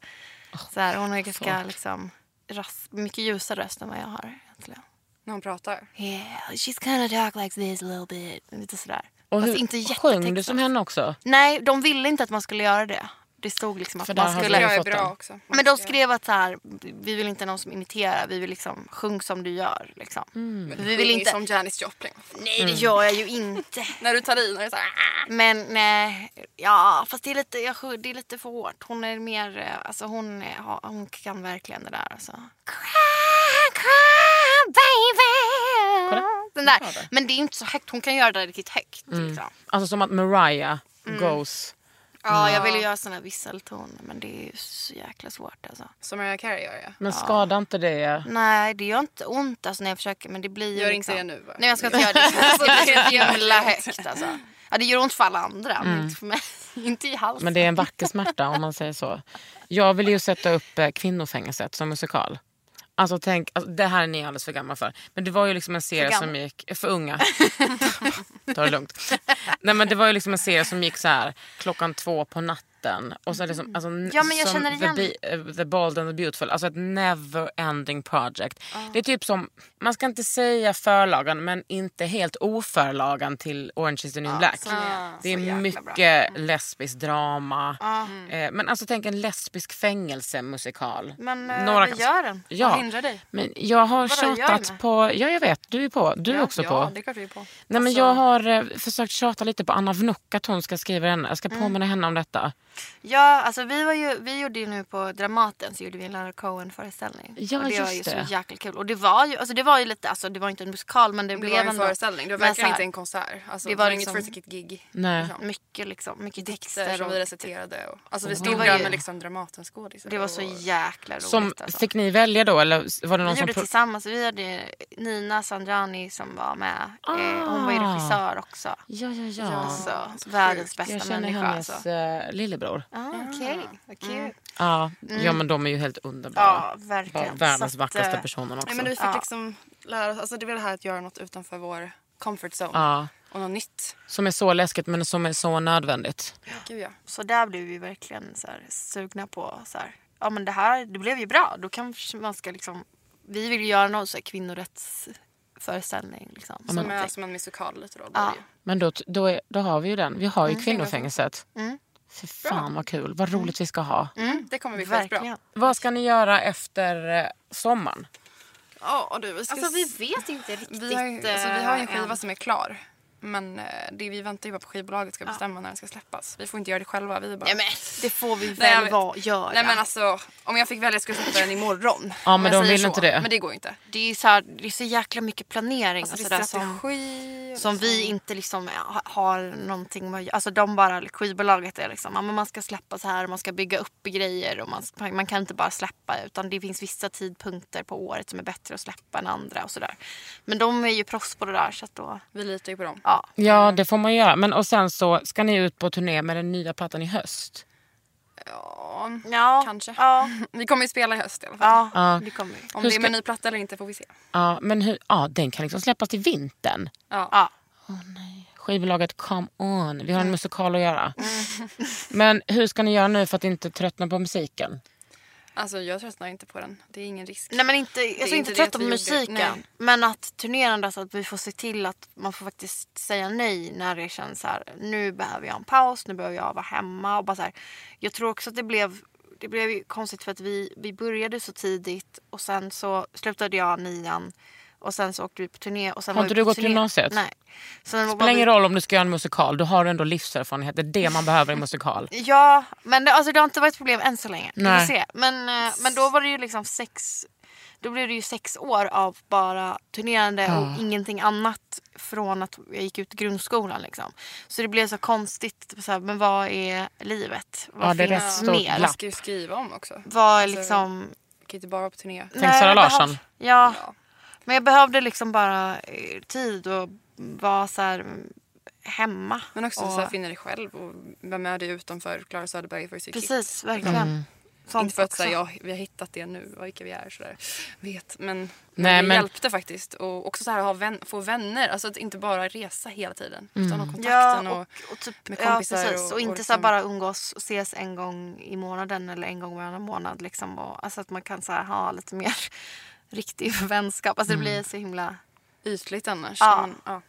E: så här, hon har ju ganska liksom, ras, mycket ljusare röst än vad jag har egentligen.
D: När hon pratar.
E: Yeah, she's kinda talk like this a little bit. Lite sådär.
A: Och
E: Fast
A: hur,
E: inte
A: sjöng du som
E: jättetextat.
A: henne också?
E: Nej, de ville inte att man skulle göra det. Det stod liksom att
A: För där
E: man
A: har
E: skulle...
A: vi-
D: Jag är
A: fått
D: bra
A: den.
D: också.
E: Men de skrev att så här, vi vill inte någon som imiterar, vi vill liksom sjung som du gör. Liksom.
A: Mm.
E: Vi vill inte...
D: Som Janis Joplin.
E: Nej, det gör jag ju inte.
D: När du tar i, när du är så här, "Ah!"
E: Men nej, ja, fast det är, lite, jag, sjö- det är lite för hårt. Hon är mer, eh, alltså hon, är, ja, hon kan verkligen det där. Alltså. Cry, cry, baby. Den där. Men det är inte så högt, hon kan göra det riktigt högt. Liksom.
A: Alltså som att Mariah
E: Mm.
A: goes...
E: Ja, jag ville göra såna visseltoner men det är ju så jäkla svårt alltså.
D: Som Mariah Carey gör jag.
A: Men skadar inte det?
E: Nej, det gör inte ont alltså, när jag försöker men det blir ju
D: Gör
E: liksom...
D: inte det nu va?
E: Nej, jag ska inte göra det. Det blir så himla högt alltså. Ja, det gör ont för alla andra men inte för mig. inte i halsen.
A: Men det är en vacker smärta om man säger så. Jag vill ju sätta upp eh, Kvinnofängelset som musikal. Alltså tänk, alltså, det här är ni alldeles för gamla för. Men det var ju liksom en serie
E: gamla?
A: som gick... eh, För unga. Ta det lugnt. Nej men det var ju liksom en serie som gick så här klockan två på natten låten. Och så liksom, alltså,
E: Ja, men jag
A: som
E: känner igen-
A: the, Be- eh, the Bold and the Beautiful. Alltså ett never ending project. Det är typ som, man ska inte säga förlagan men inte helt oförlagan till Orange is the new black. det är mycket
E: Mm.
A: lesbisk drama. Eh, men alltså tänk en lesbisk fängelsemusikal.
E: Men eh,
A: Några
E: vi
A: kan-
E: gör den.
A: Ja.
D: Vad hindrar dig?
A: Men jag har
E: Vadå, jag är
A: tjatat
E: med.
A: på... Ja, jag vet. Du är på. Du är också
D: ja,
A: på.
D: Ja, det är klart vi är på.
A: Nej, men
E: alltså-
A: Jag har eh, försökt tjata lite på Anna Vnuk att hon ska skriva den. Jag ska
E: Mm.
A: påminna henne om detta.
E: Ja, alltså vi, var ju, vi gjorde ju nu på Dramaten så gjorde vi en Leonard Cohen-föreställning.
A: Ja,
E: och det var ju
A: just det.
E: så jäkla kul. Och det var ju, alltså det var ju lite, alltså det var inte en musikal men det,
D: Det
E: blev
D: var ju en
E: ändå...
D: föreställning. Det var
E: men
D: verkligen
E: så här,
D: inte en konsert. Alltså,
E: Det
D: det
E: var
D: var,
E: liksom-
D: inget first gig.
A: Nej.
E: Mycket liksom, mycket
D: Texter
E: texter.
D: som
E: Och,
D: vi reciterade. Och, alltså vi
E: Det
D: stod
E: var
D: där
E: ju-
D: med liksom Dramatenskådisar.
E: det var så
D: och-
E: jäkla roligt
A: Som,
E: alltså.
A: Fick ni välja då? Eller var det någon
E: Vi
A: som
E: gjorde
A: pro-
E: tillsammans, vi hade Nina Sandrani som var med. Eh, hon var ju
A: Ah.
E: regissör också.
A: Ja, ja, ja.
E: Alltså, världens bästa
A: jag känner
E: människa
A: hennes
E: alltså.
A: eh, lillebror.
E: Ah, Okej, vad kul.
A: Ja. ja, men de är ju helt underbara.
E: Mm. Ja, verkligen.
A: Bara Världens
E: Så att,
A: vackraste
E: eh,
A: personer också.
D: Nej, men vi fick
E: Ja.
D: liksom lära oss. Alltså, det var det här att göra något utanför vår comfort zone.
A: ja.
D: Och något nytt.
A: Som är så läskigt men som är så nödvändigt.
D: Gud ja.
E: Så där blev vi verkligen så här, sugna på så här, ja men det här det blev ju bra. Då kanske man ska liksom, vi vill ju göra någon så här kvinnorättsföreställning. Liksom,
D: Som,
E: Som
D: är,
E: någonting.
D: som en musikal lite då.
E: Ja.
D: Ja.
A: Men då, då, är, då har vi ju den. Vi har
E: Mm,
A: ju kvinnofängelset. Fy fan vad kul. Vad roligt vi ska ha.
E: Mm.
D: Det kommer vi få bra.
E: Verkligen.
A: Vad ska ni göra efter eh, sommaren?
D: Ja, och du, vi ska
E: Alltså vi vet inte riktigt.
D: Vi har, ju, alltså, vi har ju en
E: eh,
D: skiva
E: än.
D: som är klar. Men eh, det, vi väntar ju bara på skivbolaget ska bestämma när den ska släppas. Vi får inte göra det själva. Vi är bara...
E: Nej men det får vi
D: Nej, jag
E: väl
D: vet.
E: vara, göra.
D: Nej men alltså, om jag fick välja skulle jag släppa den imorgon.
A: Ja, men
D: Om jag
A: de
D: säger
A: vill
D: så.
A: inte det.
D: Men det går ju inte.
E: det, är så här, det är så jäkla mycket planering
D: Alltså,
E: och
D: det är
E: sådär som,
D: strategi. och
E: som vi inte liksom ha- har någonting med Alltså de bara, skivbolaget är liksom, ja, men man ska släppa så här, man ska bygga upp grejer och man, ska- man kan inte bara släppa utan det finns vissa tidpunkter på året som är bättre att släppa än andra och sådär. Men de är ju proffs på det där så att då,
D: Vi litar ju på dem.
E: ja.
A: Ja, det får man göra. Men, och sen så ska ni ut på turné med den nya plattan i höst.
D: Ja,
E: ja
D: kanske.
E: Ja,
D: Vi kommer ju spela i höst i alla fall.
E: ja,
A: Ja.
E: det kommer vi.
D: Om
A: Hur
D: det är
A: ska-
D: med ny platta eller inte får vi se.
A: Ja, men hur, ja, den kan liksom släppas till vintern.
D: Ja.
E: Ja.
A: Skivbolaget, come on. Vi har en
E: Mm.
A: musikal att göra. Men hur ska ni göra nu för att inte tröttna på musiken?
D: Alltså jag tröttnar inte på den. Det är ingen risk.
E: Nej men inte, jag
D: inte
E: är inte
D: det
E: trött
D: att
E: på
D: vi gjorde-
E: musiken.
D: nej.
E: Men att turnerandet, att vi får se till att man får faktiskt säga nej när det känns så här. Nu behöver jag en paus, nu behöver jag vara hemma. Och bara så här. Jag tror också att det blev, det blev ju konstigt för att vi, vi började så tidigt och sen så slutade jag nian. Och sen så åkte vi på turné. Och sen
A: Har
E: var
A: inte
E: vi
A: du
E: på
A: gått
E: turné.
A: gymnasiet?
E: Nej. Så när man
A: spelar
E: var-
A: ingen roll om du ska göra en musikal. Du har ändå livserfarenhet. Det är det man behöver i en musikal.
E: Ja, men det, alltså, det har inte varit problem än så länge. Vi
A: Nej.
E: får se. Men, eh, men då var det ju liksom sex... Då blev det ju sex år av bara turnerande och ingenting annat från att jag gick ut grundskolan. Liksom. Så det blev så konstigt. typ Så här, men vad är livet? Vad
A: Ja, det är
E: finns
A: rätt stort
E: mer?
D: Vi
A: glapp.
D: ska ju skriva om också.
E: Vad är
D: Alltså,
E: liksom...
D: Vi kan ju inte bara vara på turné.
E: Nej,
A: Sara
E: jag
A: Larsson.
E: behöv- Ja.
D: Ja.
E: Men jag behövde liksom bara eh, tid och vara så här, mm, hemma.
D: Men också
E: och,
D: så här, finna dig själv och vem är du utanför Klara Söderberg för sitt
E: Precis, verkligen.
A: Mm.
E: Sånt
D: Inte för att
E: också.
D: säga, ja, vi har hittat det nu, och vilka vi är sådär. Vet, men, men
A: Nej,
D: det
A: men-
D: hjälpte faktiskt. Och också så här, ha vän, få vänner, alltså att inte bara resa hela tiden.
A: Mm.
D: Utan ha kontakten
E: Ja,
D: och,
E: och typ,
D: med kompisar.
E: ja, precis. Och, inte
D: liksom-
E: så här bara umgås och ses en gång i månaden eller en gång varannan månad. Liksom. Och, alltså att man kan så här, ha lite mer riktig vänskap. Alltså
D: Mm.
E: det blir så himla...
D: ytligt annars.
E: Ja.
D: Men, ja.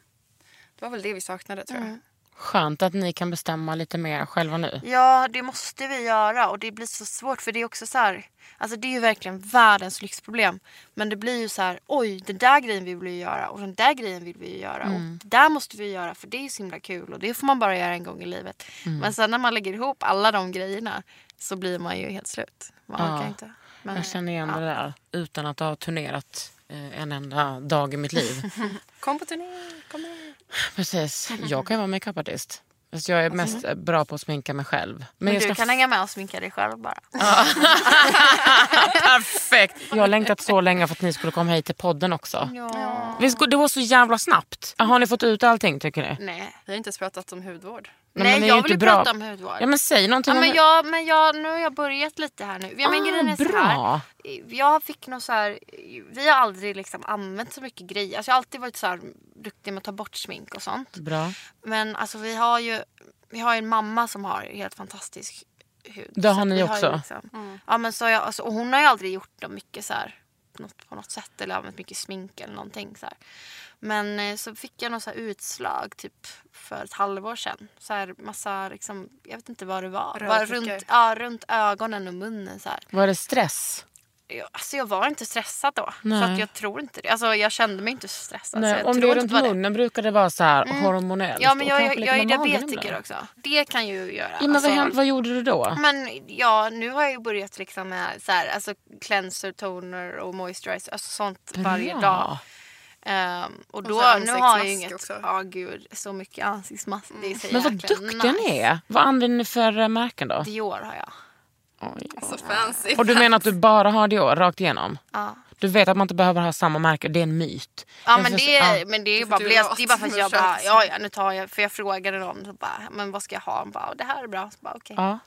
D: Det var väl det vi saknade tror jag.
A: Mm. Skönt att ni kan bestämma lite mer själva nu.
E: Ja, det måste vi göra och det blir så svårt för det är också så här... Alltså det är ju verkligen världens lyxproblem. Men det blir ju så här, oj, den där grejen vill vi ju göra och den där grejen vill vi ju göra
A: Mm.
E: och det där måste vi göra för det är ju så himla kul och det får man bara göra en gång i livet.
A: Mm.
E: Men sen när man lägger ihop alla de grejerna så blir man ju helt slut. Man
A: Ja.
E: orkar inte. Men,
A: Jag känner igen det där. Utan att ha turnerat eh, en enda dag i mitt liv.
D: Kom på turné, kom här.
A: Precis. Jag kan ju vara makeupartist. Fast jag är mest eh, bra på att sminka mig själv. Men,
E: Men
A: jag
E: du
A: ska
E: kan hänga med och sminka dig själv bara.
A: Perfekt! Jag har längtat så länge för att ni skulle komma hit till podden också. Vi sko- Det var så jävla snabbt. Har ni fått ut allting tycker ni? Nej,
E: Nej.
D: Vi har inte ens pratat om hudvård.
A: men
E: Nej,
A: ni är ju
E: jag
A: inte
E: vill ju
A: bra-
E: prata om hudvård.
A: Ja men säg någonting
E: Ja, men
A: om
E: jag, men jag, nu har jag börjat lite här nu. Jag men
A: Ah,
E: grejen är så
A: bra.
E: här. Jag fick någon så här. Vi har aldrig liksom använt så mycket grejer. Alltså jag har alltid varit så här duktig med att ta bort smink och sånt.
A: Bra.
E: Men alltså vi har ju vi har ju en mamma som har helt fantastisk hud.
A: Det
E: Så
A: har
E: att
A: ni
E: vi ju
A: också.
E: liksom- Ja, men så har jag, alltså, och hon har ju aldrig gjort dem mycket så här, något, på något sätt eller använt mycket smink eller någonting. Så här. Men eh, så fick jag något så här utslag typ för ett halvår sedan. Så här, massa, liksom, jag vet inte vad det var.
D: Röda
E: Bara
D: prickar.
E: runt, ja, runt ögonen och munnen. Så här.
A: Var det stress?
E: Jag, alltså, jag var inte stressad då. Så
A: Nej.
E: att jag tror inte det. Alltså, jag kände mig inte stressad. så
A: Nej,
E: Alltså, jag
A: om det
E: tror
A: är
E: inte
A: runt
E: det var det.
A: munnen brukar det vara så här hormonellt.
E: Ja, men
A: och
E: jag,
A: kanske
E: jag,
A: lite
E: jag
A: med
E: är
A: magen ibland.
E: diabetiker också. Det kan ju göra.
A: Ja, men
E: alltså- Mm,
A: vad, hände, vad gjorde du då?
E: Men ja, nu har jag ju börjat liksom med så här, alltså cleanser, toner och moisturizer, alltså sånt varje
A: Bra.
E: dag. Ehm, och då,
D: så här
E: nu har jag ju
D: ansiktsmask
E: inget,
D: också.
E: ja gud, så mycket ansiktsmask. Det är så
A: Mm. Men vad
E: jäkla
A: duktiga
E: nice. Alltså,
A: ni är. Vad använder ni för eh, märken då?
E: Dior har jag.
A: Oj.
D: Så fancy.
A: Och du menar att du bara har Dior rakt igenom?
E: Ja.
A: Du vet att man inte behöver ha samma märke, det är en myt.
E: Ja
A: Jag
E: men
A: förstår-
E: det,
A: ja.
E: är, men det är ju
D: för
E: bara
D: du är
E: blekt.
D: lat
E: Det är bara för att
D: som
E: jag
D: har
E: bara,
D: köpt.
E: ja ja nu tar jag, för jag frågade någon så bara, men vad ska jag ha? Hon bara, "Ja, det här är bra. Så bara, okej.
A: Ja.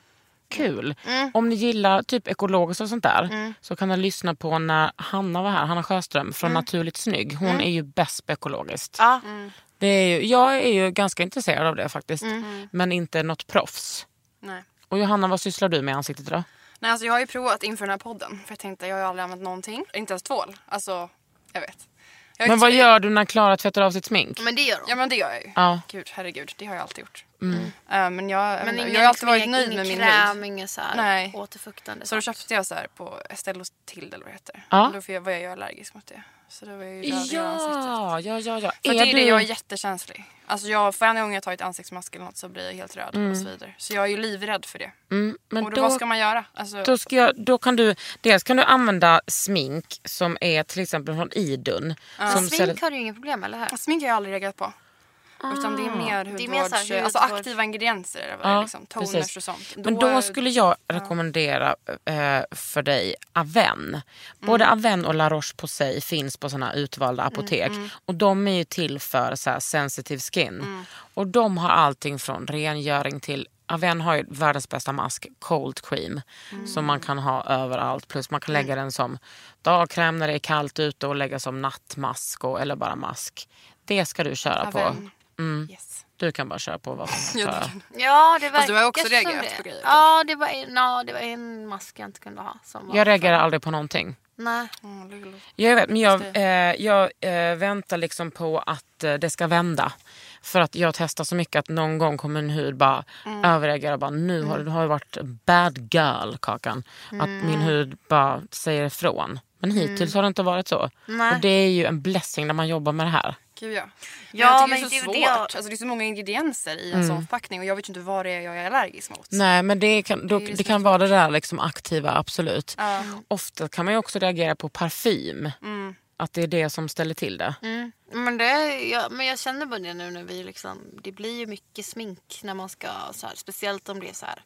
A: Kul.
D: Mm.
A: Om ni gillar typ ekologiskt och sånt där så kan ni lyssna på när Hanna var här, Hanna Sjöström från
D: Mm.
A: Naturligt Snygg. Hon är ju bäst på ekologiskt.
E: Ja.
A: Det är ju, jag är ju ganska intresserad av det faktiskt.
D: Mm.
A: Men inte något proffs.
D: Nej.
A: Och Johanna, vad sysslar du med i ansiktet då?
D: Nej, alltså jag har ju provat inför den här podden. För jag tänkte, jag har ju aldrig använt någonting. Inte ens tvål. Alltså, jag vet. Jag
A: Men
D: vet-
A: vad gör du när Klara tvättar av sitt smink?
E: Men det gör hon.
D: Ja men det gör jag ju.
A: Ja. Mm.
D: Gud, herregud. Det har jag alltid gjort. Eh, men jag, jag,
E: Men
D: men
E: ingen,
D: jag har alltid
E: liksom,
D: varit
E: ingen-
D: nöjd
E: ingen
D: med min
E: kräm,
D: hud.
E: ingen så här
D: Nej.
E: återfuktande.
D: Så då
E: sak.
D: köpte jag så här på Estelle och Tilde eller vad det heter.
A: Ja.
D: Då får jag, var jag ju allergisk mot det. Så då var jag ju röd i ansiktet.
A: Ja, ja, ja. ja.
D: För det är
A: du...
D: det, jag är jättekänslig. Alltså jag, varenda gång jag tar ett ansiktsmask eller något så blir jag helt röd och svider. Så jag är ju livrädd för det.
A: mm, men
D: och då,
A: då,
D: vad ska man göra? Alltså,
A: då, ska jag, då kan du... Dels kan du använda smink som är till exempel från Idun. Som
E: Men
A: säljer-
E: smink har du ju inga problem eller hur?
D: smink har jag aldrig reagerat på. Utan det är mer hudvårds...
E: Det är mer så här hudvård.
D: Alltså aktiva ingredienser eller vad det är, liksom, toners
A: precis.
D: och sånt.
A: Men då skulle jag rekommendera eh, för dig Aven. Både
D: Mm.
A: Aven och La Roche-Posay finns på såna utvalda apotek.
D: mm.
A: Och de är ju till för så här, sensitive skin. Och de har allting från rengöring till Aven har ju världens bästa mask, cold cream.
D: Mm.
A: Som man kan ha överallt. Plus man kan lägga den som dagkräm när det är kallt ute och lägga som nattmask och, eller bara mask. Det ska du köra
D: Aven.
A: på. Mm.
D: Yes.
A: Du kan bara köra på vad som helst. tror jag.
D: Ja, det kan-
E: Ja, det verkar
D: Fast Alltså, du har ju också
E: som
D: reagerat
E: det.
D: på grejer, typ.
E: Ja, det var, en, ja, det var en mask jag inte kunde ha. Som var
A: Jag reagerar aldrig på någonting.
E: Nej.
D: Mm, lulu.
A: Jag vet, men jag, eh, jag eh, väntar liksom på att eh, det ska vända. För att jag testar så mycket att någon gång kommer en hud bara
D: Mm.
A: överreagera och bara nu har du har ju varit bad girl Kakan. Att
D: Mm.
A: min hud bara säger ifrån. Men hittills har det inte varit så.
E: Nej.
A: Och det är ju en blessing när man jobbar med det här.
D: Gud ja. Men
E: Ja,
D: jag
E: men
D: tycker det är så
E: det är
D: svårt.
E: väl det jag-
D: Alltså, det är så många ingredienser i en sån förpackning och jag vet ju inte vad det är jag är allergisk mot.
A: Nej men det kan, då,
D: Det är
A: det
D: ju
A: kan vara det där liksom aktiva absolut. Ofta kan man ju också reagera på parfym.
D: Mm.
A: Att det är det som ställer till det.
E: Mm. Men, det, jag, men jag känner bara det nu när vi liksom, det blir ju mycket smink när man ska så här, speciellt om det är så här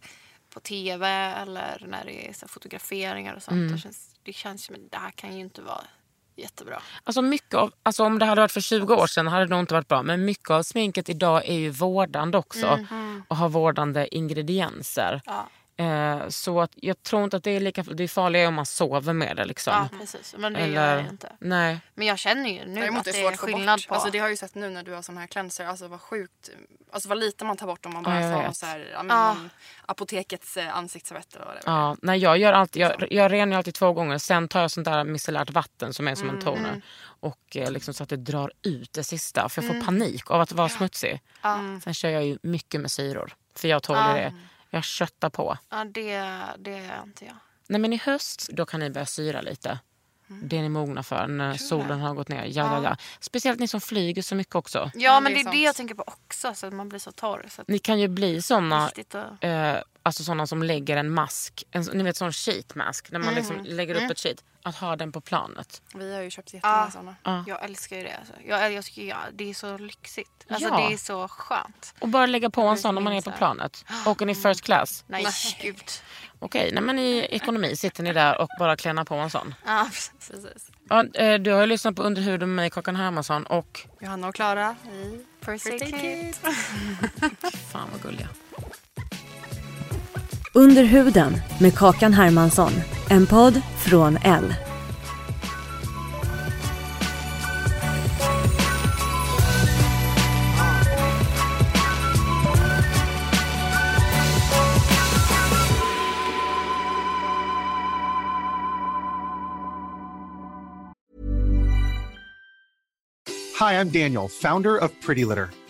E: på tv eller när det är så här, fotograferingar och sånt. Det känns, det känns som att det här kan ju inte vara jättebra.
A: Alltså mycket av, alltså om det hade varit för 20 år sedan hade det nog inte varit bra. Men mycket av sminket idag är ju vårdande också.
E: Mm,
A: Och har vårdande ingredienser. Eh, så att jag tror inte att det är lika det är farligare om man sover med det. Liksom.
E: Ja, precis. Men det gör jag ju inte.
A: Nej.
E: Men jag känner ju nu
D: Däremot
E: att
D: är
E: det
D: svårt
E: är
D: att få bort.
E: skillnad på...
D: Alltså, det har jag ju sett nu när du har sån här cleanser. Alltså vad sjukt. Alltså vad lite man tar bort om man
A: Ja,
D: bara
A: jag
D: tar någon
A: vet.
D: så här, ja, men,
E: Ah.
D: någon apotekets eh, ansiktstvätt eller vad det är.
A: Ja, nej jag, gör alltid, jag, jag renar ju alltid två gånger. Sen tar jag sånt där micellärt vatten som är som
E: Mm,
A: en toner. Och eh, liksom så att det drar ut det sista. För jag
E: Mm.
A: får panik av att vara smutsig. Sen kör jag ju mycket med syror. För jag tål ju det. Jag köttar på.
E: Ja, det, det gör inte jag.
A: Nej men i höst då kan ni börja syra lite.
E: Mm.
A: Det är ni mogna för när solen har gått ner. Ja, ja. Ja. Speciellt ni som flyger så mycket också.
E: Ja, men det är
D: sant.
E: det jag tänker på också. Så att man blir så torr. Så att
A: Ni kan ju bli såna,
E: Viktigt att...
A: eh, alltså såna som lägger en mask, en, ni vet sån sheet mask, när man
E: Mm.
A: liksom lägger upp ett sheet. Att ha den på planet.
E: Ah.
D: Vi har ju köpt jättemånga såna.
E: Jag älskar ju det. Alltså. Jag, jag tycker ja, det är så lyxigt. Alltså,
A: Ja.
E: Det är så skönt.
A: Och bara lägga på en sån när man är
E: minns
A: på
E: det.
A: planet. Åker ni first class?
E: Nej, gud.
A: Okej, nej, men i ekonomi sitter ni där och bara klännar på en sån.
E: Ja, precis.
A: Ja, eh, du har ju lyssnat på Under huden med mig, Kakan Hermansson och
D: Johanna och Klara i
E: First aid kit.
A: fan vad gulliga.
B: Under huden med Kakan Hermansson. En podd från L.
F: Hi, I'm Daniel, founder of Pretty Litter.